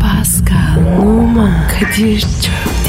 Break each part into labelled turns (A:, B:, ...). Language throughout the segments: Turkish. A: Pascal, Oman, Kadir çok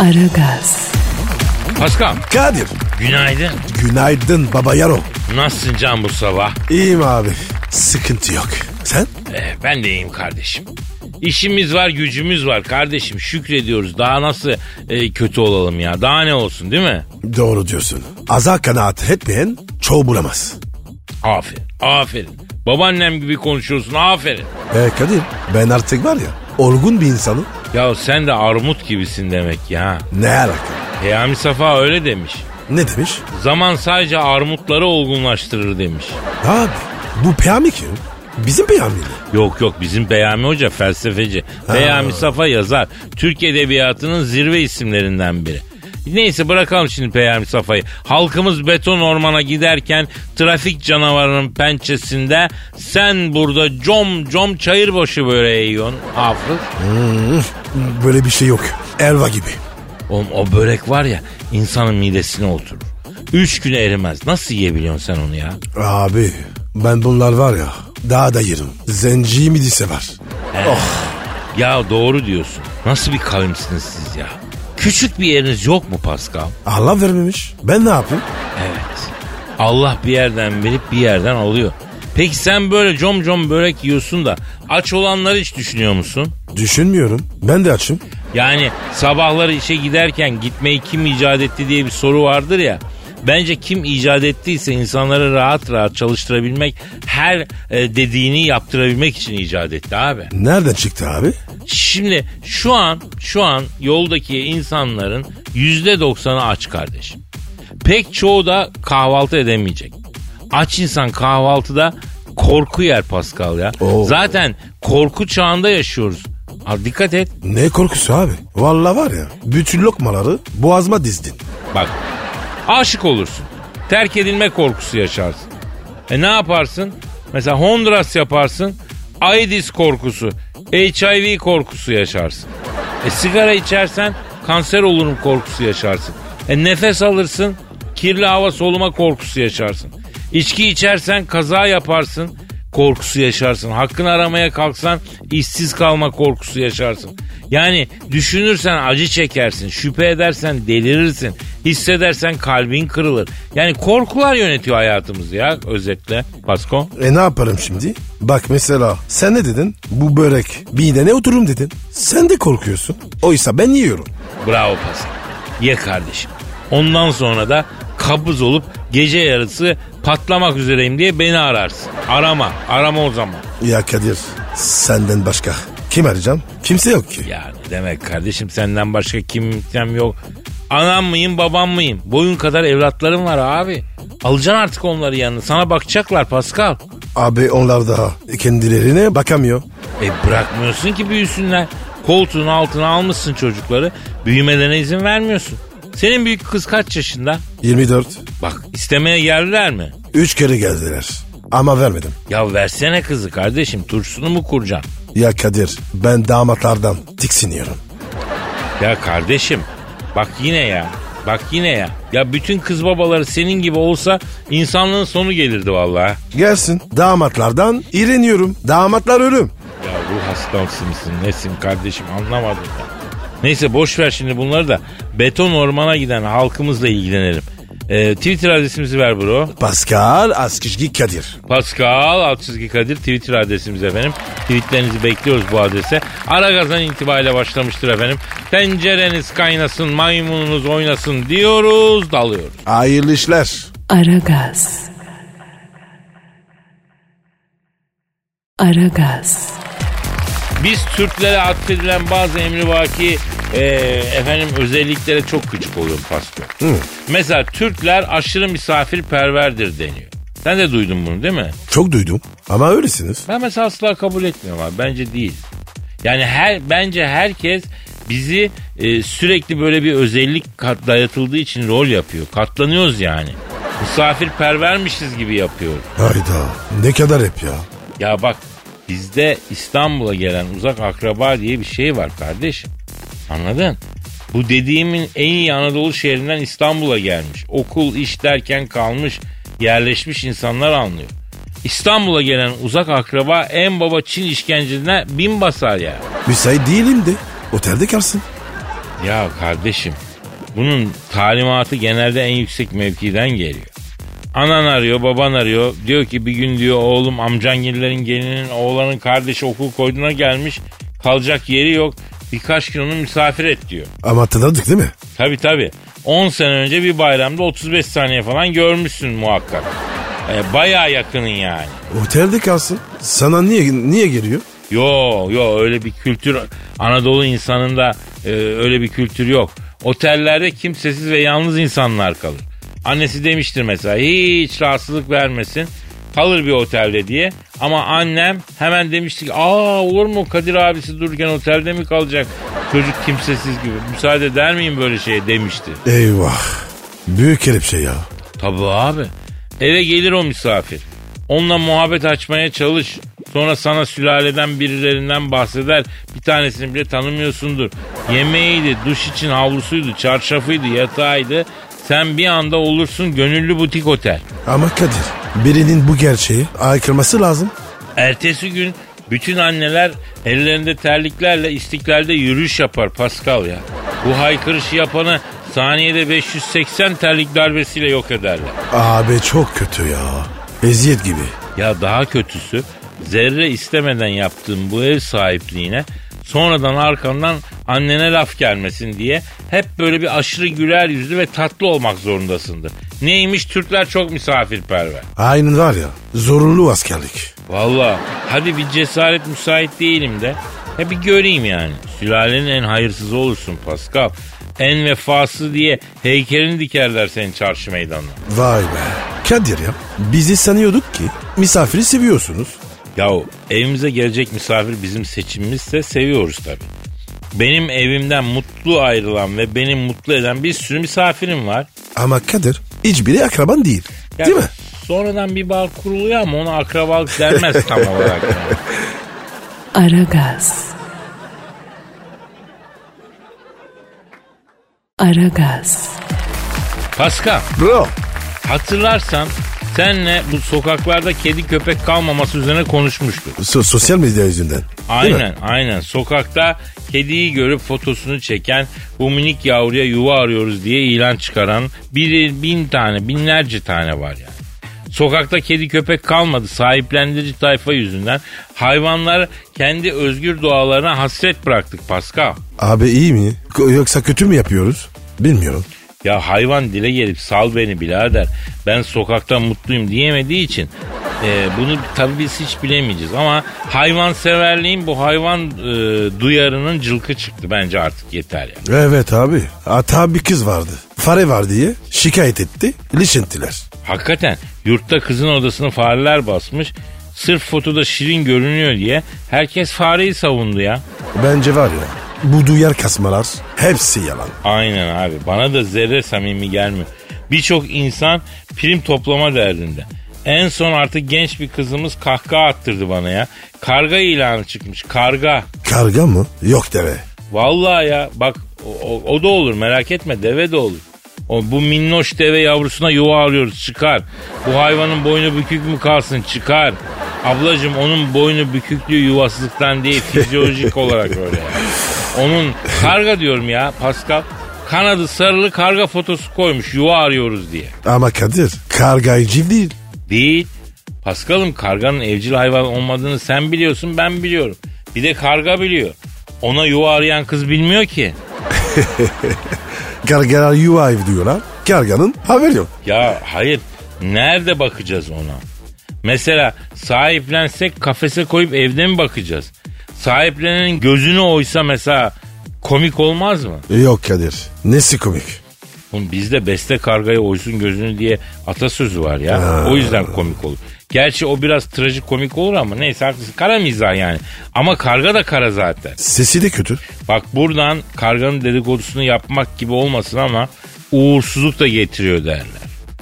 A: Aragaz,
B: Paskal.
C: Kadir.
B: Günaydın.
C: Günaydın baba yaro.
B: Nasılsın can bu sabah?
C: İyiyim abi. Sıkıntı yok. Sen?
B: Eh, ben de iyiyim kardeşim. İşimiz var, gücümüz var kardeşim. Şükrediyoruz. Daha nasıl eh, kötü olalım ya? Daha ne olsun değil mi?
C: Doğru diyorsun. Aza kanaat etmeyen çoğu bulamaz.
B: Aferin, aferin. Babaannem gibi konuşuyorsun, aferin.
C: E Kadir ben artık var ya olgun bir insanım.
B: Ya sen de armut gibisin demek ya.
C: Ne alaka?
B: Peyami Safa öyle demiş.
C: Ne demiş?
B: Zaman sadece armutları olgunlaştırır demiş.
C: Abi bu Peyami kim? Bizim Peyami mi?
B: Yok yok bizim Beyami Hoca felsefeci. Beyami Safa yazar. Türk Edebiyatı'nın zirve isimlerinden biri. Neyse bırakalım şimdi Peyami Safa'yı. Halkımız beton ormana giderken trafik canavarının pençesinde sen burada com com çayırbaşı böreği yiyorsun. Hafız.
C: Böyle bir şey yok. Elva gibi.
B: Oğlum o börek var ya insanın midesine oturur. Üç gün erimez. Nasıl yiyebiliyorsun sen onu ya?
C: Abi ben bunlar var ya daha da yerim. Oh, Zenci midisi var.
B: Ya doğru diyorsun. Nasıl bir kavimsiniz siz ya? Küçük bir yeriniz yok mu Pascal?
C: Allah vermemiş. Ben ne yapayım?
B: Evet. Allah bir yerden verip bir yerden alıyor. Peki sen böyle com com börek yiyorsun da aç olanları hiç düşünüyor musun?
C: Düşünmüyorum. Ben de açım.
B: Yani sabahları işe giderken gitmeyi kim icat etti diye bir soru vardır ya. Bence kim icat ettiyse insanları rahat rahat çalıştırabilmek, her e, dediğini yaptırabilmek için icat etti abi.
C: Nereden çıktı abi?
B: Şimdi şu an şu an yoldaki insanların yüzde doksanı aç kardeşim. Pek çoğu da kahvaltı edemeyecek. Aç insan kahvaltıda korku yer Pascal ya.
C: Oo.
B: Zaten korku çağında yaşıyoruz. Ha, dikkat et.
C: Ne korkusu abi? Vallahi var ya bütün lokmaları boğazma dizdin.
B: Bak aşık olursun. Terk edilme korkusu yaşarsın. E ne yaparsın? Mesela Honduras yaparsın. AIDS korkusu, HIV korkusu yaşarsın. E sigara içersen kanser olurum korkusu yaşarsın. E nefes alırsın, kirli hava soluma korkusu yaşarsın. İçki içersen kaza yaparsın, korkusu yaşarsın. Hakkını aramaya kalksan işsiz kalma korkusu yaşarsın. Yani düşünürsen acı çekersin, şüphe edersen delirirsin, hissedersen kalbin kırılır. Yani korkular yönetiyor hayatımızı ya özetle Pasko.
C: E ne yaparım şimdi? Bak mesela sen ne dedin? Bu börek bir ne oturum dedin. Sen de korkuyorsun. Oysa ben yiyorum.
B: Bravo Pascal. Ye kardeşim. Ondan sonra da kabız olup gece yarısı patlamak üzereyim diye beni ararsın. Arama, arama o zaman.
C: Ya Kadir senden başka kim arayacağım? Kimse yok ki.
B: Yani demek kardeşim senden başka kimsem yok. Anam mıyım babam mıyım? Boyun kadar evlatlarım var abi. Alacaksın artık onları yanına. Sana bakacaklar Pascal.
C: Abi onlar daha kendilerine bakamıyor.
B: E bırakmıyorsun ki büyüsünler. Koltuğun altına almışsın çocukları. Büyümelerine izin vermiyorsun. Senin büyük kız kaç yaşında?
C: 24.
B: Bak istemeye geldiler mi?
C: 3 kere geldiler. Ama vermedim.
B: Ya versene kızı kardeşim turşusunu mu kuracaksın?
C: Ya Kadir ben damatlardan tiksiniyorum.
B: Ya kardeşim bak yine ya bak yine ya. Ya bütün kız babaları senin gibi olsa insanlığın sonu gelirdi vallahi.
C: Gelsin damatlardan iğreniyorum. Damatlar ölüm.
B: Ya ruh hastası mısın nesin kardeşim anlamadım ya. Neyse boş ver şimdi bunları da beton ormana giden halkımızla ilgilenelim. Ee, Twitter adresimizi ver bro.
C: Pascal Askışgi Kadir.
B: Pascal alt çizgi Kadir Twitter adresimiz efendim. Tweetlerinizi bekliyoruz bu adrese. Ara gazan itibariyle başlamıştır efendim. Tencereniz kaynasın, maymununuz oynasın diyoruz, dalıyoruz.
C: Hayırlı işler.
A: Aragaz. Aragaz,
B: Biz Türklere atfedilen bazı emrivaki e, efendim özelliklere çok gıcık oluyorum Pascal. Mesela Türkler aşırı misafirperverdir deniyor. Sen de duydun bunu değil mi?
C: Çok duydum ama öylesiniz.
B: Ben mesela asla kabul etmiyorum abi. Bence değil. Yani her bence herkes bizi e, sürekli böyle bir özellik kat, dayatıldığı için rol yapıyor. Katlanıyoruz yani. Misafirpervermişiz gibi yapıyoruz.
C: Hayda ne kadar hep ya.
B: Ya bak bizde İstanbul'a gelen uzak akraba diye bir şey var kardeşim. Anladın? Bu dediğimin en iyi Anadolu şehrinden İstanbul'a gelmiş. Okul, iş derken kalmış, yerleşmiş insanlar anlıyor. İstanbul'a gelen uzak akraba en baba Çin işkencesine bin basar ya.
C: Müsait değilim de otelde kalsın.
B: Ya kardeşim bunun talimatı genelde en yüksek mevkiden geliyor. Anan arıyor, baban arıyor. Diyor ki bir gün diyor oğlum amcangillerin gelinin oğlanın kardeşi okul koyduğuna gelmiş. Kalacak yeri yok. Birkaç gün onu misafir et diyor.
C: Ama hatırladık değil mi?
B: Tabi tabi. 10 sene önce bir bayramda 35 saniye falan görmüşsün muhakkak. E, bayağı yakının yani.
C: Otelde kalsın. Sana niye niye geliyor?
B: Yo yo öyle bir kültür Anadolu insanında e, öyle bir kültür yok. Otellerde kimsesiz ve yalnız insanlar kalır. Annesi demiştir mesela hiç rahatsızlık vermesin kalır bir otelde diye. Ama annem hemen demişti ki aa olur mu Kadir abisi dururken otelde mi kalacak? Çocuk kimsesiz gibi müsaade eder miyim böyle şeye demişti.
C: Eyvah. Büyük herif şey ya.
B: Tabii abi. Eve gelir o misafir. Onunla muhabbet açmaya çalış. Sonra sana sülaleden birilerinden bahseder. Bir tanesini bile tanımıyorsundur. Yemeğiydi, duş için havlusuydu, çarşafıydı, yatağıydı. Sen bir anda olursun gönüllü butik otel.
C: Ama Kadir birinin bu gerçeği aykırması lazım.
B: Ertesi gün bütün anneler ellerinde terliklerle istiklalde yürüyüş yapar Pascal ya. Bu haykırışı yapanı saniyede 580 terlik darbesiyle yok ederler.
C: Abi çok kötü ya. Eziyet gibi.
B: Ya daha kötüsü zerre istemeden yaptığın bu ev sahipliğine sonradan arkandan annene laf gelmesin diye hep böyle bir aşırı güler yüzlü ve tatlı olmak zorundasındır. Neymiş Türkler çok misafirperver.
C: Aynen var ya zorunlu askerlik.
B: Valla hadi bir cesaret müsait değilim de. Ya bir göreyim yani. Sülalenin en hayırsızı olursun Pascal. En vefası diye heykelini dikerler senin çarşı meydanına.
C: Vay be. Kadir ya bizi sanıyorduk ki misafiri seviyorsunuz.
B: Ya evimize gelecek misafir bizim seçimimizse seviyoruz tabii. Benim evimden mutlu ayrılan ve beni mutlu eden bir sürü misafirim var.
C: Ama Kadir hiçbiri akraban değil.
B: Ya
C: Değil mi?
B: Sonradan bir bağ kuruluyor ama ona akrabalık denmez tam olarak. yani.
A: Aragaz. Aragaz.
B: Pascal
C: Bro.
B: hatırlarsan senle bu sokaklarda kedi köpek kalmaması üzerine konuşmuştuk.
C: So- sosyal medya yüzünden. Değil mi?
B: Aynen aynen sokakta kediyi görüp fotosunu çeken bu minik yavruya yuva arıyoruz diye ilan çıkaran bir, bin tane binlerce tane var yani. Sokakta kedi köpek kalmadı sahiplendirici tayfa yüzünden hayvanlar kendi özgür doğalarına hasret bıraktık Pascal.
C: Abi iyi mi? Ko- Yoksa kötü mü yapıyoruz? Bilmiyorum.
B: Ya hayvan dile gelip sal beni birader ben sokakta mutluyum diyemediği için e, bunu tabii biz hiç bilemeyeceğiz ama hayvanseverliğin bu hayvan e, duyarının cılkı çıktı bence artık yeter ya.
C: Evet abi. Hatta bir kız vardı. Fare var diye şikayet etti. Lişentiler.
B: Hakikaten yurtta kızın odasını fareler basmış sırf fotoda şirin görünüyor diye herkes fareyi savundu ya.
C: Bence var ya bu duyar kasmalar hepsi yalan.
B: Aynen abi. Bana da zerre samimi gelmiyor. Birçok insan prim toplama derdinde. En son artık genç bir kızımız kahkaha attırdı bana ya. Karga ilanı çıkmış. Karga.
C: Karga mı? Yok deve.
B: Vallahi ya bak o, o- o da olur merak etme deve de olur. O, bu minnoş deve yavrusuna yuva arıyoruz çıkar. Bu hayvanın boynu bükük mü kalsın çıkar. Ablacım onun boynu büküklüğü yuvasızlıktan değil fizyolojik olarak öyle. yani. Onun karga diyorum ya Pascal. Kanadı sarılı karga fotosu koymuş yuva arıyoruz diye.
C: Ama Kadir karga evcil değil.
B: Değil. Paskal'ım karganın evcil hayvan olmadığını sen biliyorsun ben biliyorum. Bir de karga biliyor. Ona yuva arayan kız bilmiyor ki.
C: Kargalar yuva ev diyorlar. Karganın haberi yok.
B: Ya hayır. Nerede bakacağız ona? Mesela sahiplensek kafese koyup evde mi bakacağız? Sahiplenenin gözünü oysa mesela komik olmaz mı?
C: Yok Kadir. Nesi komik?
B: Oğlum bizde beste kargaya oysun gözünü diye atasözü var ya. O yüzden komik olur. Gerçi o biraz trajik komik olur ama neyse haklısın. Kara mizah yani. Ama karga da kara zaten.
C: Sesi de kötü.
B: Bak buradan karganın dedikodusunu yapmak gibi olmasın ama uğursuzluk da getiriyor derler.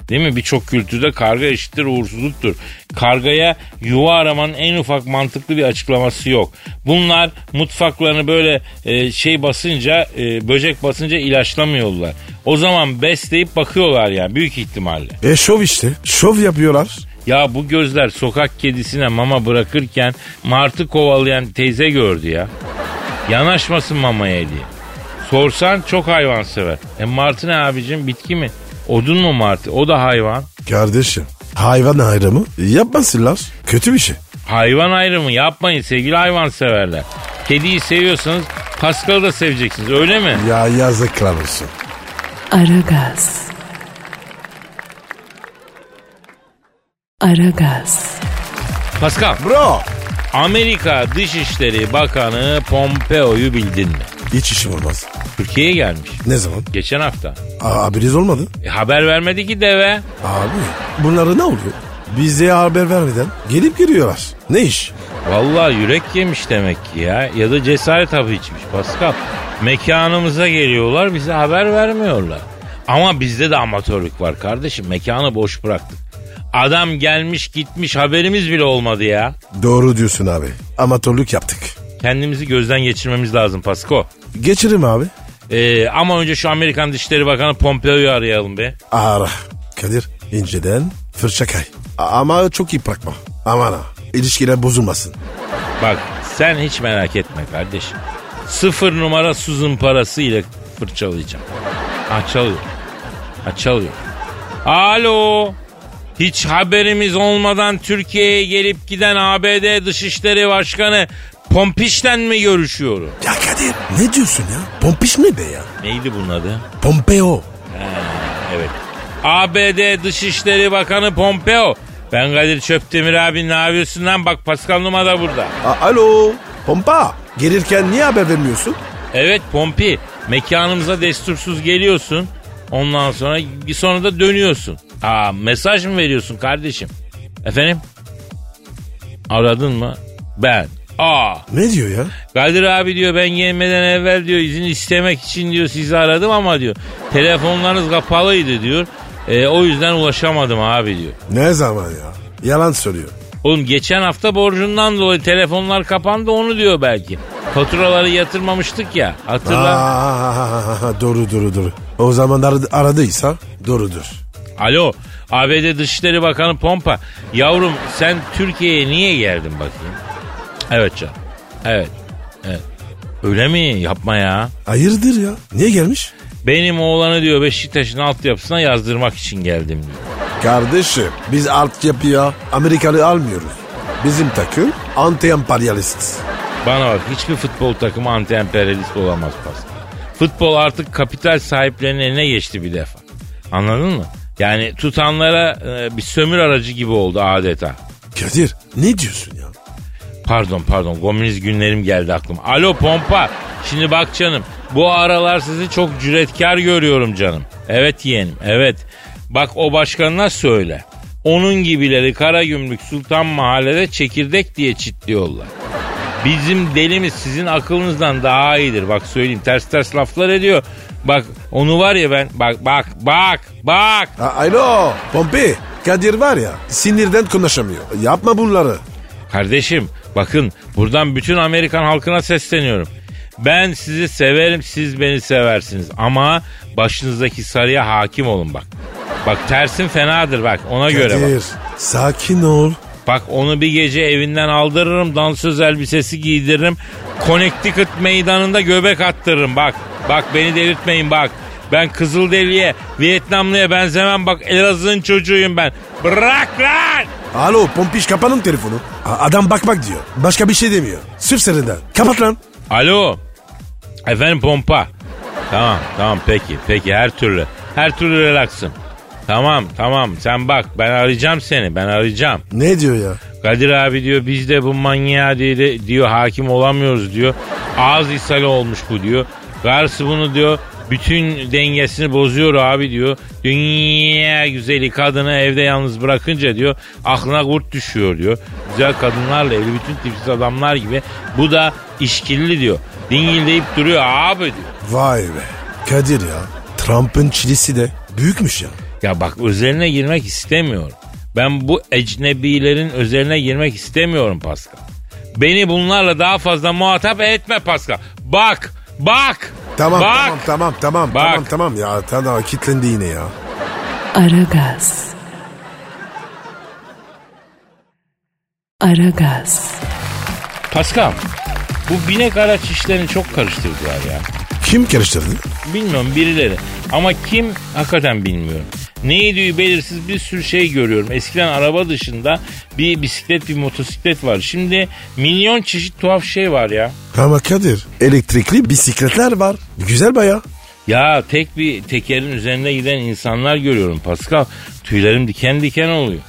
B: Değil mi? Birçok kültürde karga eşittir uğursuzluktur. Kargaya yuva aramanın en ufak mantıklı bir açıklaması yok. Bunlar mutfaklarını böyle e, şey basınca, e, böcek basınca ilaçlamıyorlar. O zaman besleyip bakıyorlar yani büyük ihtimalle.
C: E şov işte. Şov yapıyorlar.
B: Ya bu gözler sokak kedisine mama bırakırken martı kovalayan teyze gördü ya. Yanaşmasın mamaya diye. Sorsan çok hayvan sever. E martı ne abicim bitki mi? Odun mu martı? O da hayvan.
C: Kardeşim hayvan ayrımı yapmasınlar. Kötü bir şey.
B: Hayvan ayrımı yapmayın sevgili hayvan severler. Kediyi seviyorsanız Pascal'ı da seveceksiniz öyle mi?
C: Ya yazıklar olsun.
A: Aragaz. Aragaz.
B: Pascal,
C: Bro.
B: Amerika Dışişleri Bakanı Pompeo'yu bildin mi?
C: Hiç işim olmaz.
B: Türkiye'ye gelmiş.
C: Ne zaman?
B: Geçen hafta.
C: Aa, haberiz olmadı.
B: E, haber vermedi ki deve.
C: Abi bunlara ne oluyor? Bize haber vermeden gelip giriyorlar. Ne iş?
B: Vallahi yürek yemiş demek ki ya. Ya da cesaret hapı içmiş Pascal. Mekanımıza geliyorlar bize haber vermiyorlar. Ama bizde de amatörlük var kardeşim. Mekanı boş bıraktık. Adam gelmiş gitmiş haberimiz bile olmadı ya.
C: Doğru diyorsun abi. Amatörlük yaptık.
B: Kendimizi gözden geçirmemiz lazım Pasko.
C: Geçirim abi.
B: Ee, ama önce şu Amerikan Dışişleri Bakanı Pompeo'yu arayalım be.
C: Ara. Kadir inceden fırça kay. A- Ama çok iyi bırakma. Aman ha. İlişkiler bozulmasın.
B: Bak sen hiç merak etme kardeşim. Sıfır numara suzun parası ile fırçalayacağım. Açalıyor. Açalıyor. Alo. Hiç haberimiz olmadan Türkiye'ye gelip giden ABD Dışişleri Başkanı Pompiş'ten mi görüşüyorum?
C: Ya Kadir ne diyorsun ya? Pompiş ne be ya?
B: Neydi bunun adı?
C: Pompeo.
B: Evet. ABD Dışişleri Bakanı Pompeo. Ben Kadir Çöptemir abi ne yapıyorsun lan? Bak Pascal Numa da burada.
C: A- Alo. Pompa. Gelirken niye haber vermiyorsun?
B: Evet Pompi mekanımıza destursuz geliyorsun. Ondan sonra sonra da dönüyorsun. Aa mesaj mı veriyorsun kardeşim? Efendim? Aradın mı? Ben. Aa
C: Ne diyor ya?
B: Kadir abi diyor ben gelmeden evvel diyor izin istemek için diyor sizi aradım ama diyor telefonlarınız kapalıydı diyor. E, o yüzden ulaşamadım abi diyor.
C: Ne zaman ya? Yalan söylüyor.
B: Oğlum geçen hafta borcundan dolayı telefonlar kapandı onu diyor belki. Faturaları yatırmamıştık ya hatırla.
C: Aa, doğru doğru doğru. O zamanlar aradıysa doğrudur.
B: Alo ABD Dışişleri Bakanı Pompa yavrum sen Türkiye'ye niye geldin bakayım? Evet canım evet evet öyle mi yapma ya.
C: Hayırdır ya? Niye gelmiş?
B: Benim oğlanı diyor Beşiktaş'ın altyapısına yazdırmak için geldim diyor.
C: Kardeşim biz altyapıya Amerikalı almıyoruz. Bizim takım anti-emperyalist.
B: Bana bak hiçbir futbol takımı anti-emperyalist olamaz Pascal. Futbol artık kapital sahiplerinin eline geçti bir defa. Anladın mı? Yani tutanlara e, bir sömür aracı gibi oldu adeta.
C: Kadir ne diyorsun ya?
B: Pardon pardon komünist günlerim geldi aklıma. Alo pompa. Şimdi bak canım bu aralar sizi çok cüretkar görüyorum canım. Evet yeğenim evet. Bak o başkanına söyle. Onun gibileri Karagümrük Sultan Mahalle'de çekirdek diye çitliyorlar. Bizim delimiz sizin akılınızdan daha iyidir. Bak söyleyeyim ters ters laflar ediyor. Bak onu var ya ben bak bak bak bak.
C: A- Alo Pompi Kadir var ya sinirden konuşamıyor. Yapma bunları.
B: Kardeşim bakın buradan bütün Amerikan halkına sesleniyorum. Ben sizi severim siz beni seversiniz ama başınızdaki sarıya hakim olun bak. Bak tersin fenadır bak ona göre bak.
C: Kadir sakin ol.
B: Bak onu bir gece evinden aldırırım dansöz elbisesi giydiririm. Connecticut meydanında göbek attırırım bak. Bak beni delirtmeyin bak. Ben Kızılderili'ye, Vietnamlı'ya benzemem bak Elazığ'ın çocuğuyum ben. Bırak lan!
C: Alo Pompiş kapanın telefonu. A- adam bak bak diyor. Başka bir şey demiyor. Sırf serinden. Kapat lan.
B: Alo. Efendim pompa. Tamam tamam peki peki her türlü. Her türlü relaksım. Tamam tamam sen bak ben arayacağım seni ben arayacağım.
C: Ne diyor ya?
B: Kadir abi diyor biz de bu manyağa diye de- diyor hakim olamıyoruz diyor. Ağız ishali olmuş bu diyor. Garsı bunu diyor Bütün dengesini bozuyor abi diyor. Dünya güzeli kadını evde yalnız bırakınca diyor aklına kurt düşüyor diyor. Güzel kadınlarla evli bütün tipsiz adamlar gibi. Bu da işkilli diyor. Dingildeyip duruyor abi diyor.
C: Vay be. Kadir ya. Trump'ın çilisi de büyükmüş ya.
B: Ya bak özeline girmek istemiyorum. Ben bu ecnebilerin özeline girmek istemiyorum Pascal. Beni bunlarla daha fazla muhatap etme Pascal. Bak, bak,
C: Tamam
B: bak.
C: tamam tamam tamam
B: Bak.
C: tamam tamam ya. Tamam kitlendi yine ya.
A: Aragaz. Aragaz.
B: Pascal, bu binek araç işlerini çok karıştırdılar ya.
C: Kim karıştırdı?
B: Bilmiyorum birileri. Ama kim hakikaten bilmiyorum. Neydi belirsiz bir sürü şey görüyorum. Eskiden araba dışında bir bisiklet bir motosiklet var. Şimdi milyon çeşit tuhaf şey var ya.
C: Ama Kadir elektrikli bisikletler var. Güzel baya.
B: Ya tek bir tekerin üzerinde giden insanlar görüyorum Pascal. Tüylerim diken diken oluyor.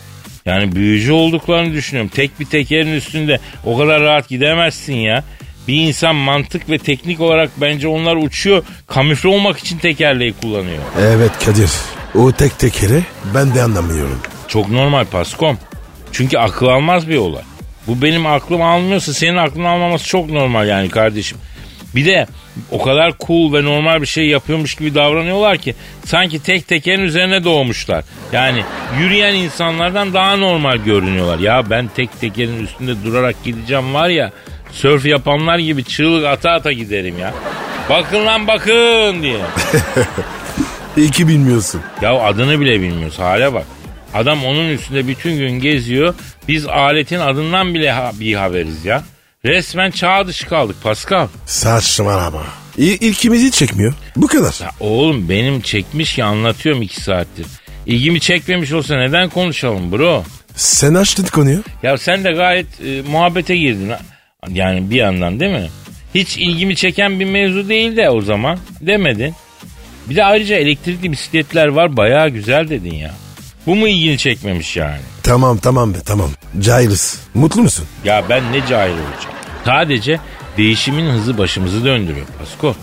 B: Yani büyücü olduklarını düşünüyorum. Tek bir tekerin üstünde o kadar rahat gidemezsin ya. Bir insan mantık ve teknik olarak bence onlar uçuyor. Kamufle olmak için tekerleği kullanıyor.
C: Evet Kadir. O tek tekeri ben de anlamıyorum.
B: Çok normal Paskom. Çünkü akıl almaz bir olay. Bu benim aklım almıyorsa senin aklın almaması çok normal yani kardeşim. Bir de o kadar cool ve normal bir şey yapıyormuş gibi davranıyorlar ki sanki tek tekerin üzerine doğmuşlar. Yani yürüyen insanlardan daha normal görünüyorlar. Ya ben tek tekerin üstünde durarak gideceğim var ya sörf yapanlar gibi çığlık ata ata giderim ya. Bakın lan bakın diye.
C: İyi ki bilmiyorsun.
B: Ya adını bile bilmiyoruz hale bak. Adam onun üstünde bütün gün geziyor. Biz aletin adından bile ha- bir haberiz ya. Resmen çağ dışı kaldık Pascal.
C: Saçmalama. İ- ilkimizi çekmiyor. Bu kadar.
B: Ya oğlum benim çekmiş ki anlatıyorum iki saattir. İlgimi çekmemiş olsa neden konuşalım bro?
C: Sen açtın konuyu.
B: Ya sen de gayet e, muhabbete girdin. ha. Yani bir yandan değil mi? Hiç ilgimi çeken bir mevzu değil de o zaman demedin. Bir de ayrıca elektrikli bisikletler var bayağı güzel dedin ya. Bu mu ilgini çekmemiş yani?
C: Tamam tamam be tamam. Cahiliz. Mutlu musun?
B: Ya ben ne cahil olacağım. Sadece değişimin hızı başımızı döndürüyor Pasko.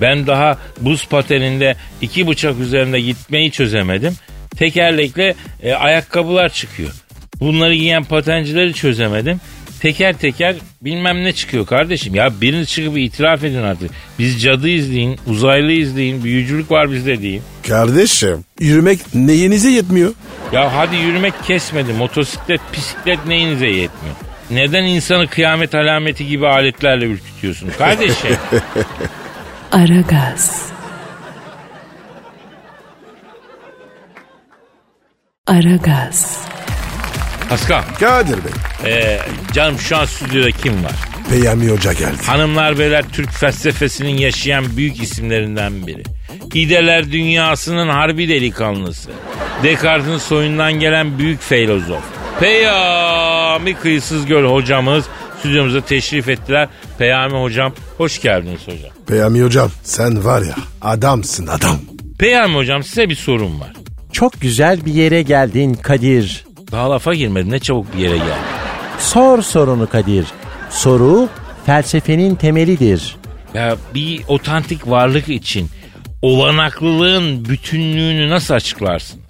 B: Ben daha buz pateninde iki bıçak üzerinde gitmeyi çözemedim. Tekerlekle e, ayakkabılar çıkıyor. Bunları giyen patencileri çözemedim. Teker teker bilmem ne çıkıyor kardeşim. Ya biriniz çıkıp itiraf edin artık. Biz cadıyız deyin, uzaylıyız deyin, büyücülük var bizde deyin.
C: Kardeşim yürümek neyinize yetmiyor?
B: Ya hadi yürümek kesmedi. Motosiklet, bisiklet neyinize yetmiyor? Neden insanı kıyamet alameti gibi aletlerle ürkütüyorsun kardeşim?
A: Aragaz. Aragaz.
B: Pascal,
C: Kadir Bey.
B: e, canım şu an stüdyoda kim var?
C: Peyami Hoca geldi.
B: Hanımlar beyler Türk felsefesinin yaşayan büyük isimlerinden biri. İdeler dünyasının harbi delikanlısı. Descartes'in soyundan gelen büyük filozof. Peyami Kıyısız Göl hocamız stüdyomuza teşrif ettiler. Peyami hocam hoş geldiniz hocam.
C: Peyami Hocam sen var ya adamsın adam.
B: Peyami hocam size bir sorum var.
D: Çok güzel bir yere geldin Kadir.
B: Daha lafa girmedim ne çabuk bir yere geldi.
D: Sor sorunu Kadir. Soru felsefenin temelidir.
B: Ya bir otantik varlık için olanaklılığın bütünlüğünü nasıl açıklarsın?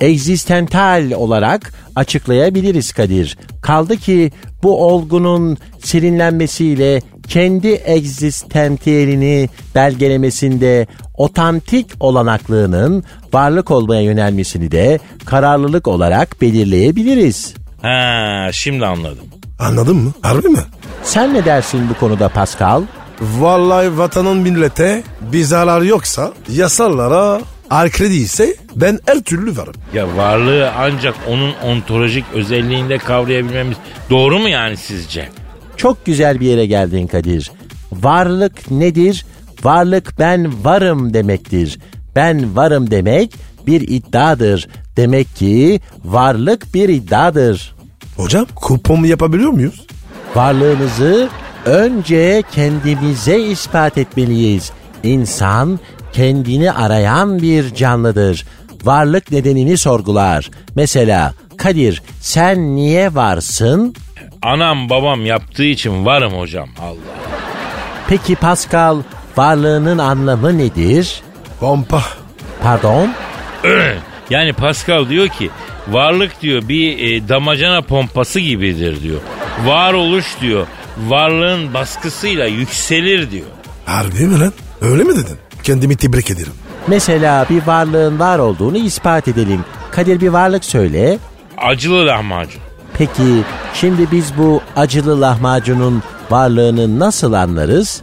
D: Egzistental olarak açıklayabiliriz Kadir. Kaldı ki bu olgunun serinlenmesiyle kendi egzistantiyelini belgelemesinde otantik olanaklığının varlık olmaya yönelmesini de kararlılık olarak belirleyebiliriz.
B: Ha şimdi anladım.
C: Anladın mı? Harbi mi?
D: Sen ne dersin bu konuda Pascal?
C: Vallahi vatanın millete bir zarar yoksa yasalara arkredi ise ben her türlü varım.
B: Ya varlığı ancak onun ontolojik özelliğinde kavrayabilmemiz doğru mu yani sizce?
D: Çok güzel bir yere geldin Kadir. Varlık nedir? Varlık ben varım demektir. Ben varım demek bir iddiadır. Demek ki varlık bir iddiadır.
C: Hocam kupon mu yapabiliyor muyuz?
D: Varlığımızı önce kendimize ispat etmeliyiz. İnsan kendini arayan bir canlıdır. Varlık nedenini sorgular. Mesela Kadir sen niye varsın?
B: Anam babam yaptığı için varım hocam Allah.
D: Peki Pascal varlığının anlamı nedir?
C: Pompa.
D: Pardon?
B: Yani Pascal diyor ki varlık diyor bir e, damacana pompası gibidir diyor. Varoluş diyor varlığın baskısıyla yükselir diyor.
C: Harbi mi lan? Öyle mi dedin? Kendimi tebrik ederim.
D: Mesela bir varlığın var olduğunu ispat edelim. Kadir bir varlık söyle.
B: Acılı lahmacun.
D: Peki şimdi biz bu acılı lahmacunun varlığını nasıl anlarız?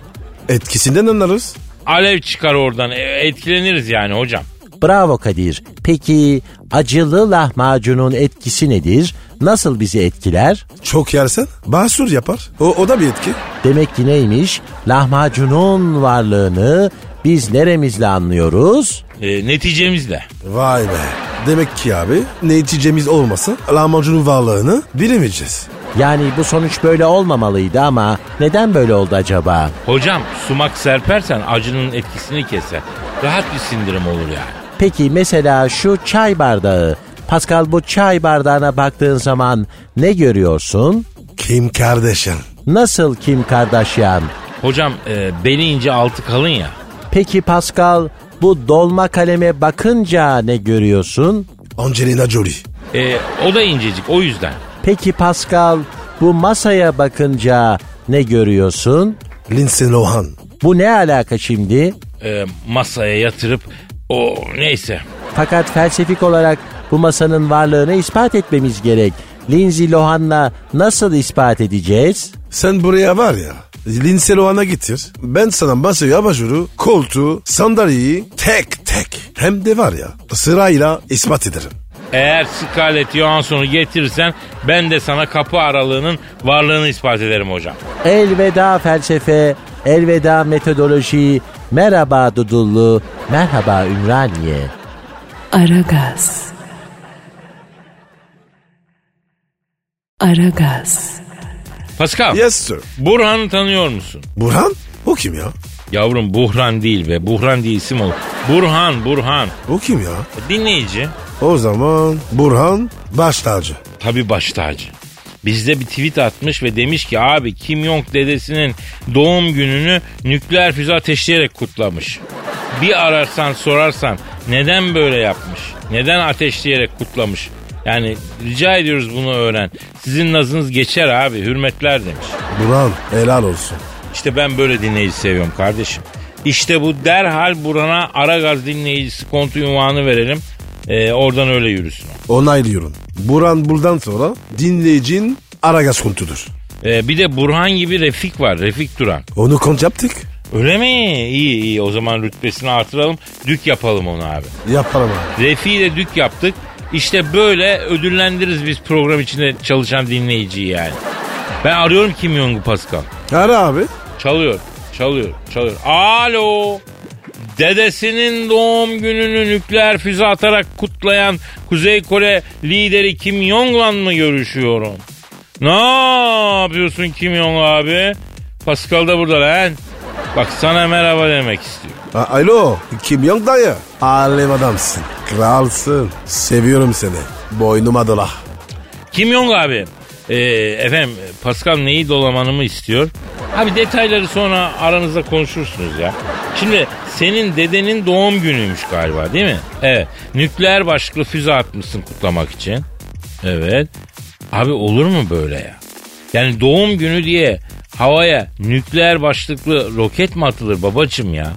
C: Etkisinden anlarız.
B: Alev çıkar oradan e, etkileniriz yani hocam.
D: Bravo Kadir. Peki acılı lahmacunun etkisi nedir? Nasıl bizi etkiler?
C: Çok yersen basur yapar. O, o da bir etki.
D: Demek ki neymiş? Lahmacunun varlığını biz neremizle anlıyoruz?
B: E, neticemizle.
C: Vay be. Demek ki abi ne içeceğimiz olmasın lahmacunun varlığını bilemeyeceğiz.
D: Yani bu sonuç böyle olmamalıydı ama neden böyle oldu acaba?
B: Hocam sumak serpersen acının etkisini keser. Rahat bir sindirim olur yani.
D: Peki mesela şu çay bardağı. Pascal bu çay bardağına baktığın zaman ne görüyorsun?
C: Kim kardeşim?
D: Nasıl Kim Kardashian?
B: Hocam e, beli ince altı kalın ya.
D: Peki Pascal bu dolma kaleme bakınca ne görüyorsun?
C: Angelina Jolie.
B: E, o da incecik o yüzden.
D: Peki Pascal bu masaya bakınca ne görüyorsun?
C: Lindsay Lohan.
D: Bu ne alaka şimdi?
B: E, masaya yatırıp o neyse.
D: Fakat felsefik olarak bu masanın varlığını ispat etmemiz gerek. Lindsay Lohan'la nasıl ispat edeceğiz?
C: Sen buraya var ya Lindsay Lohan'a getir. Ben sana masayı, abajuru, koltuğu, sandalyeyi tek tek hem de var ya sırayla ispat ederim.
B: Eğer Scarlett Johansson'u getirirsen ben de sana kapı aralığının varlığını ispat ederim hocam.
D: Elveda felsefe, elveda metodoloji, merhaba Dudullu, merhaba Ümraniye.
A: Aragaz. Aragaz.
B: Pascal,
C: Yes sir.
B: Burhan'ı tanıyor musun?
C: Burhan? O kim ya?
B: Yavrum Buhran değil be. Buhran diye isim olur. Burhan, Burhan.
C: O kim ya?
B: Dinleyici.
C: O zaman Burhan baş tacı.
B: Tabi baş tacı. Bizde bir tweet atmış ve demiş ki abi Kim Jong dedesinin doğum gününü nükleer füze ateşleyerek kutlamış. Bir ararsan sorarsan neden böyle yapmış? Neden ateşleyerek kutlamış? Yani rica ediyoruz bunu öğren. Sizin nazınız geçer abi hürmetler demiş.
C: Burhan helal olsun.
B: İşte ben böyle dinleyici seviyorum kardeşim. İşte bu derhal Burhan'a Aragaz dinleyicisi kontu unvanı verelim. Ee, oradan öyle yürüsün.
C: Onaylıyorum. Burhan buradan sonra dinleyicin Aragaz kontudur.
B: Ee, bir de Burhan gibi Refik var. Refik Duran.
C: Onu kont yaptık.
B: Öyle mi? İyi iyi. O zaman rütbesini artıralım. Dük yapalım onu abi.
C: Yaparım abi.
B: Refi ile dük yaptık. İşte böyle ödüllendiririz biz program içinde çalışan dinleyiciyi yani. Ben arıyorum Kim Jong-un Pascal.
C: Ara abi.
B: Çalıyor, çalıyor, çalıyor. Alo. Dedesinin doğum gününü nükleer füze atarak kutlayan Kuzey Kore lideri Kim Jong-un'la mı görüşüyorum? Ne yapıyorsun Kim Jong abi? Pascal da burada lan. Bak sana merhaba demek istiyor.
C: A- Alo Kim Jong dayı. Alem adamsın. Kralsın. Seviyorum seni. Boynuma dola.
B: Kim Jong abi? Ee, efendim Pascal neyi dolamanımı istiyor? Abi detayları sonra aranızda konuşursunuz ya. Şimdi senin dedenin doğum günüymüş galiba değil mi? Evet. Nükleer başlıklı füze atmışsın kutlamak için. Evet. Abi olur mu böyle ya? Yani doğum günü diye havaya nükleer başlıklı roket mi atılır babacım ya?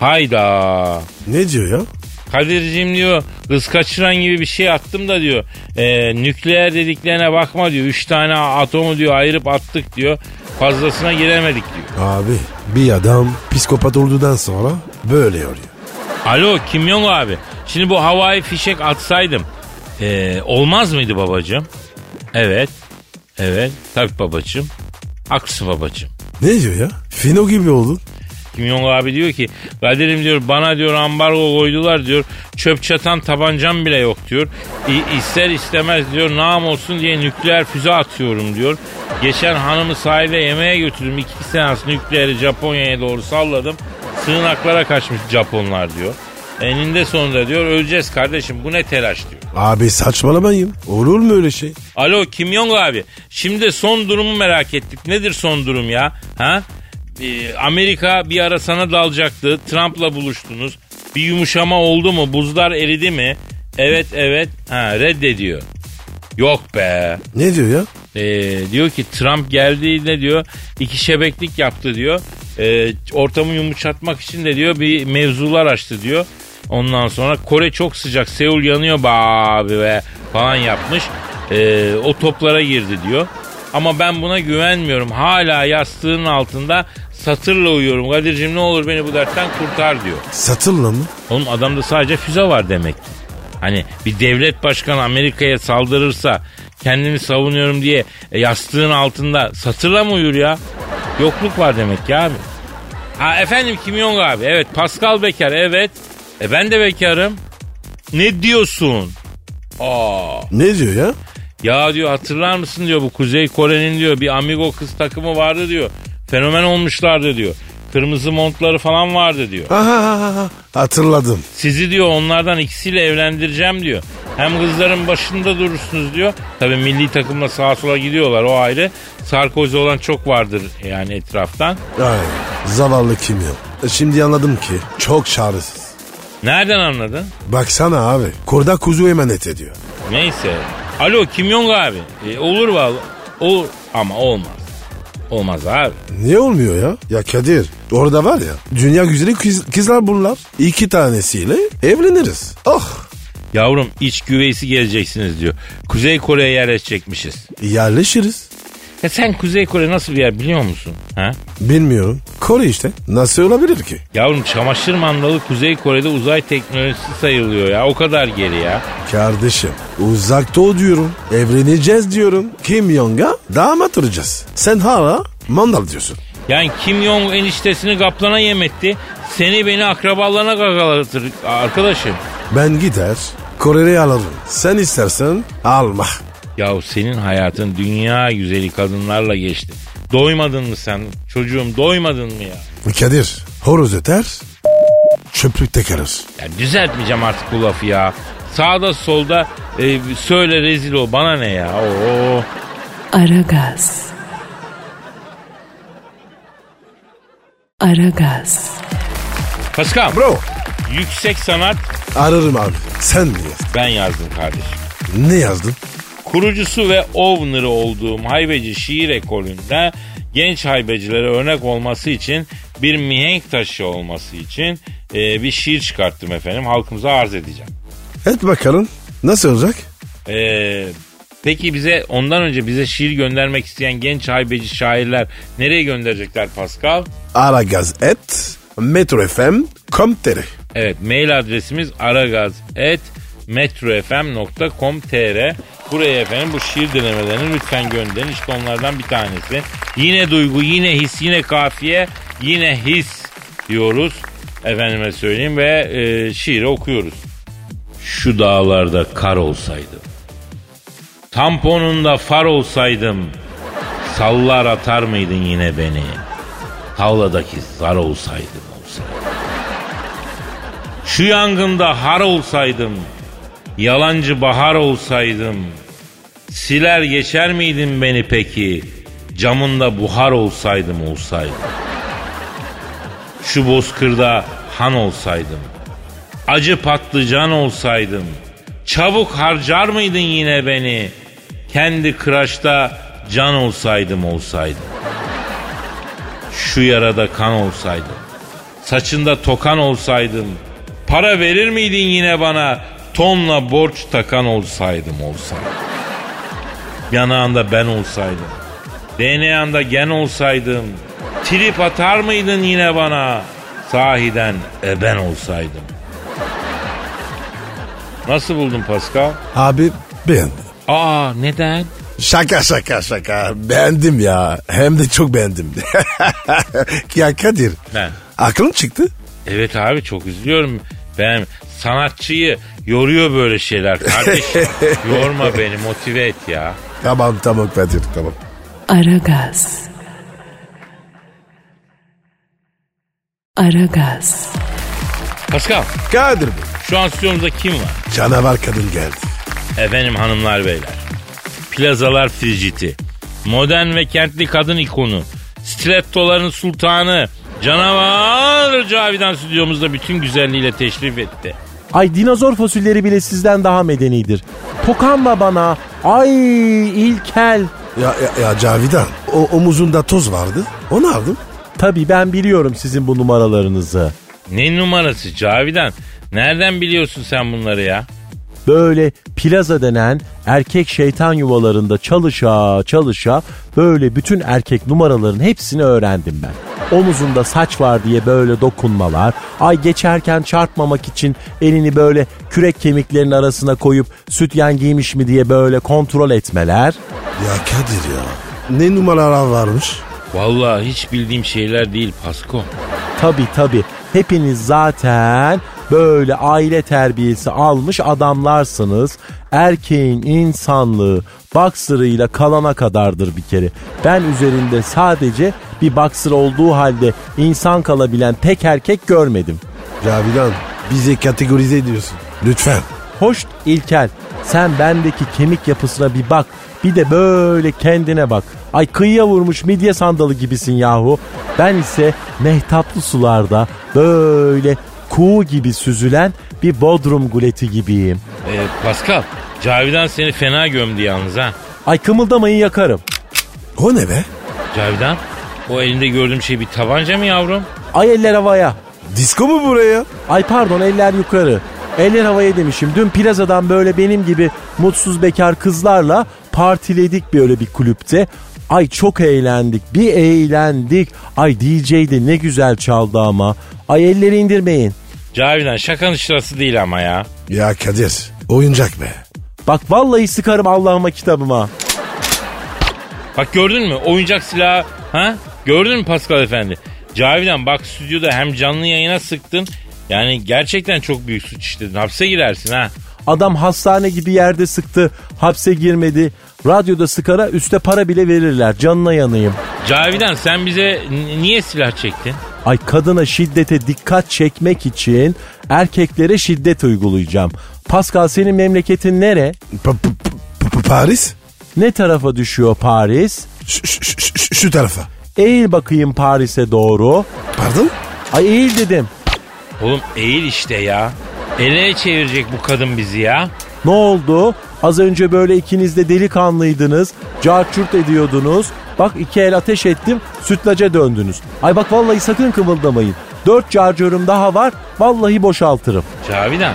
B: Hayda.
C: Ne diyor ya?
B: Kadir'cim diyor kız kaçıran gibi bir şey attım da diyor e, nükleer dediklerine bakma diyor. Üç tane atomu diyor ayırıp attık diyor. Fazlasına giremedik diyor.
C: Abi bir adam psikopat olduktan sonra böyle oluyor.
B: Alo Kim Jong abi şimdi bu havai fişek atsaydım e, olmaz mıydı babacığım? Evet. Evet tabii babacığım. Aksı babacığım.
C: Ne diyor ya? Fino gibi oldun.
B: Kim Jong abi diyor ki Kadir'im diyor bana diyor ambargo koydular diyor. Çöp çatan tabancam bile yok diyor. İ- ister istemez diyor nam olsun diye nükleer füze atıyorum diyor. Geçen hanımı sahile yemeğe götürdüm. iki seans nükleeri Japonya'ya doğru salladım. Sığınaklara kaçmış Japonlar diyor. Eninde sonunda diyor öleceğiz kardeşim bu ne telaş diyor.
C: Abi saçmalamayın. Olur mu öyle şey?
B: Alo Kim Jong abi. Şimdi son durumu merak ettik. Nedir son durum ya? Ha? e, Amerika bir ara sana dalacaktı. Trump'la buluştunuz. Bir yumuşama oldu mu? Buzlar eridi mi? Evet evet. Ha reddediyor. Yok be.
C: Ne diyor ya?
B: Ee, diyor ki Trump geldiğinde diyor iki şebeklik yaptı diyor. Ee, ortamı yumuşatmak için de diyor bir mevzular açtı diyor. Ondan sonra Kore çok sıcak Seul yanıyor be abi be falan yapmış. Ee, o toplara girdi diyor. Ama ben buna güvenmiyorum. Hala yastığın altında satırla uyuyorum. Kadir'cim ne olur beni bu dertten kurtar diyor.
C: Satırla mı?
B: Onun adamda sadece füze var demek. ki. Hani bir devlet başkanı Amerika'ya saldırırsa kendini savunuyorum diye e, yastığın altında satırla mı uyur ya? Yokluk var demek ki abi. Ha efendim Kim Jong abi evet Pascal bekar evet. E ben de bekarım. Ne diyorsun? Aa.
C: Ne diyor ya?
B: Ya diyor hatırlar mısın diyor bu Kuzey Kore'nin diyor bir amigo kız takımı vardı diyor. Fenomen olmuşlardı diyor. Kırmızı montları falan vardı diyor.
C: Aha, aha, aha. hatırladım.
B: Sizi diyor onlardan ikisiyle evlendireceğim diyor. Hem kızların başında durursunuz diyor. Tabii milli takımla sağa sola gidiyorlar o ayrı. Sarkozy olan çok vardır yani etraftan.
C: Ay, zavallı kim ya? E, Şimdi anladım ki çok çaresiz.
B: Nereden anladın?
C: Baksana abi. Kurda kuzu emanet ediyor.
B: Neyse. Alo Kim Jong abi. E, olur vallahi. Olur ama olmaz. Olmaz abi.
C: Niye olmuyor ya? Ya Kadir orada var ya dünya güzeli kız- kızlar bunlar. İki tanesiyle evleniriz. Oh
B: Yavrum iç güveysi geleceksiniz diyor. Kuzey Kore'ye yerleşecekmişiz.
C: yerleşiriz.
B: Ya sen Kuzey Kore nasıl bir yer biliyor musun? Ha?
C: Bilmiyorum. Kore işte. Nasıl olabilir ki?
B: Yavrum çamaşır mandalı Kuzey Kore'de uzay teknolojisi sayılıyor ya. O kadar geri ya.
C: Kardeşim uzak doğu diyorum. Evleneceğiz diyorum. Kim Jong'a damat olacağız. Sen hala mandal diyorsun.
B: Yani Kim Jong eniştesini kaplana yemetti. Seni beni akrabalarına gagalatır arkadaşım.
C: Ben gider Kore'yi alırım. Sen istersen alma.
B: Yahu senin hayatın dünya güzeli kadınlarla geçti. Doymadın mı sen çocuğum doymadın mı ya?
C: Kadir horoz öter çöplükte kalır.
B: Ya düzeltmeyeceğim artık bu lafı ya. Sağda solda e, söyle rezil ol bana ne ya. Oo.
A: Aragaz. Aragaz.
B: Paskal
C: Bro
B: yüksek sanat
C: ararım abi. Sen mi yazdın?
B: ben yazdım kardeşim.
C: Ne yazdın?
B: Kurucusu ve owner'ı olduğum haybeci şiir ekolünde genç haybecilere örnek olması için bir mihenk taşı olması için e, bir şiir çıkarttım efendim. Halkımıza arz edeceğim.
C: Et bakalım nasıl olacak?
B: E, peki bize ondan önce bize şiir göndermek isteyen genç haybeci şairler nereye gönderecekler Pascal?
C: Aragaz et metrofm.com.tr
B: Evet mail adresimiz aragaz.metrofm.com.tr Buraya efendim bu şiir denemelerini lütfen gönderin. İşte onlardan bir tanesi. Yine duygu, yine his, yine kafiye, yine his diyoruz. Efendime söyleyeyim ve e, şiiri okuyoruz. Şu dağlarda kar olsaydım. Tamponunda far olsaydım. Sallar atar mıydın yine beni? Tavladaki zar olsaydım olsaydım. Şu yangında har olsaydım, yalancı bahar olsaydım, siler geçer miydin beni peki, camında buhar olsaydım olsaydım. Şu bozkırda han olsaydım, acı patlıcan olsaydım, çabuk harcar mıydın yine beni, kendi kıraçta can olsaydım olsaydım. Şu yarada kan olsaydım, saçında tokan olsaydım, para verir miydin yine bana tonla borç takan olsaydım olsaydım. Yanağında ben olsaydım, DNA'nda gen olsaydım, trip atar mıydın yine bana sahiden eben olsaydım. Nasıl buldun Pascal?
C: Abi ben
B: Aa neden?
C: şaka şaka şaka beğendim ya hem de çok beğendim. ya Kadir
B: Ben.
C: aklım çıktı.
B: Evet abi çok üzülüyorum. Ben sanatçıyı yoruyor böyle şeyler kardeşim. Yorma beni motive et ya.
C: Tamam tamam Kadir tamam.
A: Aragaz. Aragaz.
B: Pascal
C: Kadir Bey,
B: şu an stüdyomuzda kim var?
C: canavar kadın geldi.
B: Efendim hanımlar beyler. Plazalar friciti. Modern ve kentli kadın ikonu. stilettoların sultanı canavar Cavidan stüdyomuzda bütün güzelliğiyle teşrif etti.
D: Ay dinozor fosilleri bile sizden daha medenidir. Tokanma bana. Ay ilkel.
C: Ya, ya, ya Cavidan o omuzunda toz vardı. Onu aldım.
D: Tabii ben biliyorum sizin bu numaralarınızı.
B: Ne numarası Cavidan? Nereden biliyorsun sen bunları ya?
D: Böyle plaza denen erkek şeytan yuvalarında çalışa çalışa böyle bütün erkek numaraların hepsini öğrendim ben. Omuzunda saç var diye böyle dokunmalar. Ay geçerken çarpmamak için elini böyle kürek kemiklerinin arasına koyup sütyen giymiş mi diye böyle kontrol etmeler.
C: Ya Kadir ya. Ne numaralar varmış?
B: Vallahi hiç bildiğim şeyler değil Pasko.
D: Tabi tabi hepiniz zaten böyle aile terbiyesi almış adamlarsınız. Erkeğin insanlığı baksırıyla kalana kadardır bir kere. Ben üzerinde sadece bir baksır olduğu halde insan kalabilen tek erkek görmedim.
C: Cavidan bizi kategorize ediyorsun. Lütfen.
D: Hoş İlkel sen bendeki kemik yapısına bir bak bir de böyle kendine bak. Ay kıyıya vurmuş midye sandalı gibisin yahu. Ben ise mehtaplı sularda böyle kuğu gibi süzülen bir bodrum guleti gibiyim.
B: Ee, Pascal, Cavidan seni fena gömdü yalnız ha.
D: Ay kımıldamayı yakarım.
C: O ne be?
B: Cavidan, o elinde gördüğüm şey bir tabanca mı yavrum?
D: Ay eller havaya.
C: Disko mu buraya?
D: Ay pardon eller yukarı. Eller havaya demişim. Dün plazadan böyle benim gibi mutsuz bekar kızlarla partiledik böyle bir kulüpte. Ay çok eğlendik. Bir eğlendik. Ay DJ de ne güzel çaldı ama. Ay elleri indirmeyin.
B: Cavidan şakanın şırası değil ama ya.
C: Ya Kadir oyuncak be.
D: Bak vallahi sıkarım Allah'ıma kitabıma.
B: Bak gördün mü oyuncak silahı ha? Gördün mü Pascal efendi? Cavidan bak stüdyoda hem canlı yayına sıktın. Yani gerçekten çok büyük suç işledin. Hapse girersin ha.
D: Adam hastane gibi yerde sıktı. Hapse girmedi. Radyoda sıkara üste para bile verirler. Canına yanayım.
B: Cavidan sen bize n- niye silah çektin?
D: Ay kadına şiddete dikkat çekmek için erkeklere şiddet uygulayacağım. Pascal senin memleketin nere?
C: Pa- pa- pa- pa- Paris?
D: Ne tarafa düşüyor Paris?
C: Şu, şu- şu- şu- şu tarafa.
D: Eğil bakayım Paris'e doğru.
C: Pardon?
D: Ay eğil dedim.
B: Oğlum eğil işte ya. Ele çevirecek bu kadın bizi ya.
D: Ne oldu? Az önce böyle ikiniz de delikanlıydınız. Carçurt ediyordunuz. Bak iki el ateş ettim. Sütlaca döndünüz. Ay bak vallahi sakın kımıldamayın. Dört carcörüm daha var. Vallahi boşaltırım.
B: Cavidan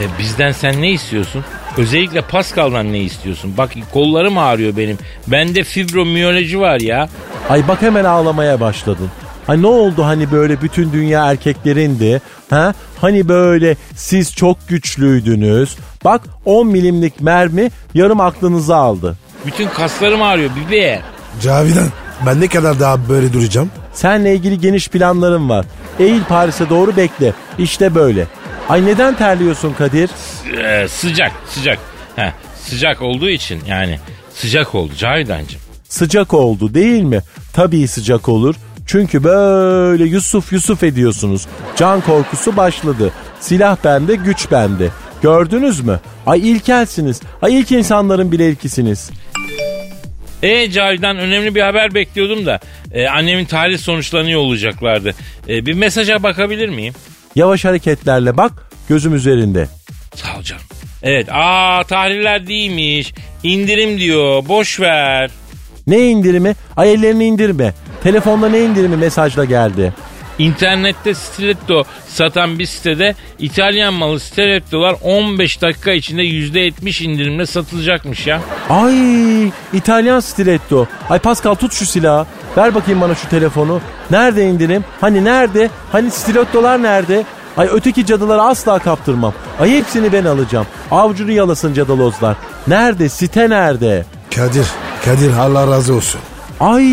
B: e, bizden sen ne istiyorsun? Özellikle Pascal'dan ne istiyorsun? Bak kollarım ağrıyor benim. Bende fibromiyoloji var ya.
D: Ay bak hemen ağlamaya başladın. Ay ne oldu hani böyle bütün dünya erkeklerindi? Ha? Hani böyle siz çok güçlüydünüz. Bak 10 milimlik mermi yarım aklınızı aldı.
B: Bütün kaslarım ağrıyor bibi.
C: Cavidan ben ne kadar daha böyle duracağım?
D: Seninle ilgili geniş planlarım var. Eğil Paris'e doğru bekle. İşte böyle. Ay neden terliyorsun Kadir?
B: Ee, sıcak sıcak. Heh, sıcak olduğu için yani sıcak oldu Cavidan'cığım.
D: Sıcak oldu değil mi? Tabii sıcak olur. Çünkü böyle Yusuf Yusuf ediyorsunuz. Can korkusu başladı. Silah bende, güç bende. Gördünüz mü? Ay ilkelsiniz. Ay ilk insanların bile ilkisiniz.
B: E Cavidan önemli bir haber bekliyordum da e, annemin tahlil sonuçlarını yollayacaklardı. E, bir mesaja bakabilir miyim?
D: Yavaş hareketlerle bak gözüm üzerinde.
B: Sağ ol canım. Evet aa tahliller değilmiş. İndirim diyor boş ver.
D: Ne indirimi? Ay ellerini indirme. Telefonda ne indirimi mesajla geldi.
B: İnternette stiletto satan bir sitede İtalyan malı stilettolar 15 dakika içinde %70 indirimle satılacakmış ya.
D: Ay İtalyan stiletto. Ay Pascal tut şu silahı. Ver bakayım bana şu telefonu. Nerede indirim? Hani nerede? Hani stilettolar nerede? Ay öteki cadıları asla kaptırmam. Ay hepsini ben alacağım. Avcunu yalasın cadalozlar. Nerede? Site nerede?
C: Kadir, Kadir Allah razı olsun.
D: Ay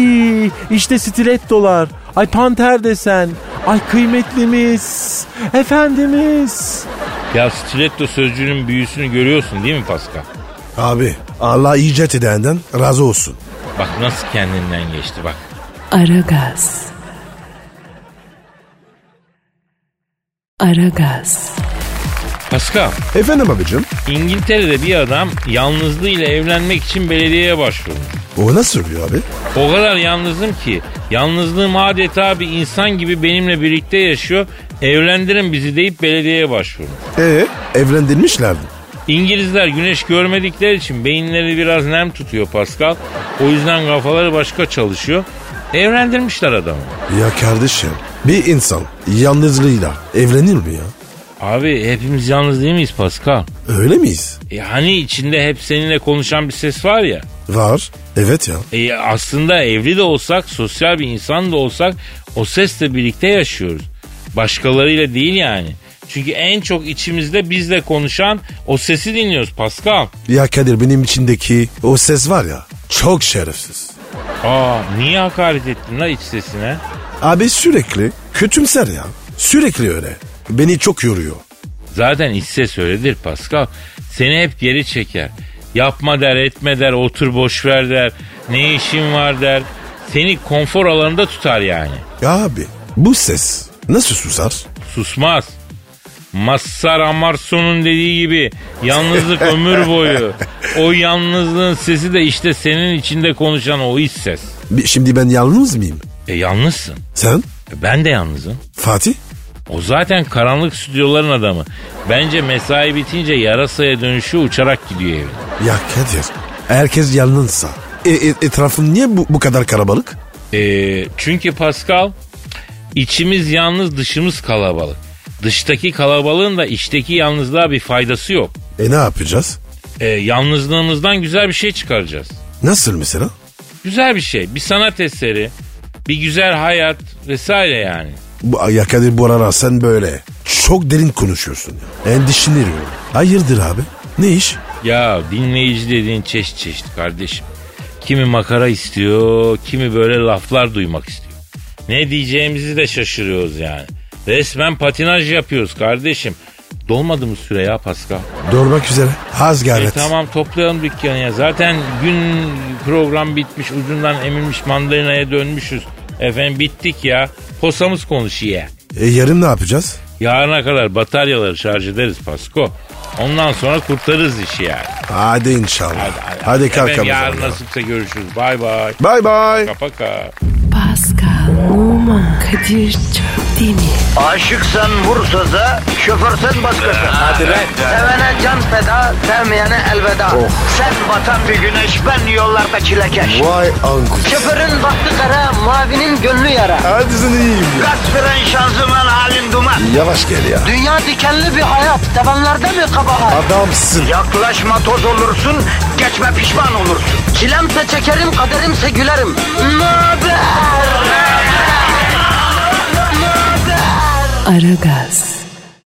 D: işte stilettolar. Ay panter desen. Ay kıymetlimiz. Efendimiz.
B: Ya stiletto sözcüğünün büyüsünü görüyorsun değil mi Pascal?
C: Abi Allah icat edenden razı olsun.
B: Bak nasıl kendinden geçti bak.
A: Aragaz. Aragaz.
B: Pascal,
C: Efendim abicim?
B: İngiltere'de bir adam yalnızlığıyla evlenmek için belediyeye başvurdu.
C: O nasıl oluyor abi?
B: O kadar yalnızım ki yalnızlığım adeta bir insan gibi benimle birlikte yaşıyor. Evlendirin bizi deyip belediyeye başvurdu.
C: Ee, evlendirmişlerdi.
B: İngilizler güneş görmedikleri için beyinleri biraz nem tutuyor Pascal. O yüzden kafaları başka çalışıyor. Evlendirmişler adamı.
C: Ya kardeşim bir insan yalnızlığıyla evlenir mi ya?
B: Abi hepimiz yalnız değil miyiz Pascal?
C: Öyle miyiz?
B: E hani içinde hep seninle konuşan bir ses var ya.
C: Var. Evet ya.
B: E aslında evli de olsak, sosyal bir insan da olsak o sesle birlikte yaşıyoruz. Başkalarıyla değil yani. Çünkü en çok içimizde bizle konuşan o sesi dinliyoruz Pascal.
C: Ya Kadir benim içindeki o ses var ya çok şerefsiz.
B: Aa niye hakaret ettin la iç sesine?
C: Abi sürekli kötümser ya. Sürekli öyle. Beni çok yoruyor.
B: Zaten iç ses öyledir Pascal. Seni hep geri çeker. Yapma der, etme der, otur boş ver der. Ne işin var der. Seni konfor alanında tutar yani.
C: Ya abi bu ses nasıl susar?
B: Susmaz. Massar Amarso'nun dediği gibi yalnızlık ömür boyu. O yalnızlığın sesi de işte senin içinde konuşan o iç ses.
C: Bi- Şimdi ben yalnız mıyım?
B: E yalnızsın.
C: Sen?
B: E, ben de yalnızım.
C: Fatih?
B: O zaten karanlık stüdyoların adamı. Bence mesai bitince yarasaya dönüşü uçarak gidiyor evine.
C: Ya Kadir herkes yalnızsa. E, e, etrafın niye bu, bu kadar kalabalık?
B: Ee, çünkü Pascal içimiz yalnız dışımız kalabalık. Dıştaki kalabalığın da içteki yalnızlığa bir faydası yok.
C: E ne yapacağız?
B: Ee, yalnızlığımızdan güzel bir şey çıkaracağız.
C: Nasıl mesela?
B: Güzel bir şey. Bir sanat eseri, bir güzel hayat vesaire yani.
C: Bu, ya Kadir bu aralar sen böyle çok derin konuşuyorsun. ya. Endişeleniyorum. Hayırdır abi? Ne iş?
B: Ya dinleyici dediğin çeşit çeşit kardeşim. Kimi makara istiyor, kimi böyle laflar duymak istiyor. Ne diyeceğimizi de şaşırıyoruz yani. Resmen patinaj yapıyoruz kardeşim. Dolmadı mı süre ya Pascal?
C: Doğurmak üzere. Az gayret.
B: E tamam toplayalım dükkanı ya. Zaten gün program bitmiş ucundan emilmiş mandalinaya dönmüşüz. Efendim bittik ya. Posamız konuşuyor.
C: E, yarın ne yapacağız?
B: Yarına kadar bataryaları şarj ederiz Pasko. Ondan sonra kurtarırız işi yani.
C: Hadi inşallah. Hadi, kalkalım.
B: Efendim yarın nasipse görüşürüz. Bay bay.
C: Bay bay.
B: Kapaka.
A: Pascal, Oman, Kadir çok değil mi?
E: Aşıksan vursa da, şoförsen başkasın. Hadi Sevene can feda, sevmeyene elveda. Sen batan bir güneş, ben yollarda çilekeş.
C: Vay anku.
E: Şoförün baktı kara, mavinin gönlü yara.
C: Hadi sen iyiyim ya.
E: Kasperen şanzıman halin duman.
C: Yavaş gel ya.
E: Dünya dikenli bir hayat, sevenlerde mi kabahar?
C: Adamsın.
E: Yaklaşma toz olursun, geçme pişman olursun. Çilemse çekerim, kaderimse gülerim. Möber!
A: Aragaz.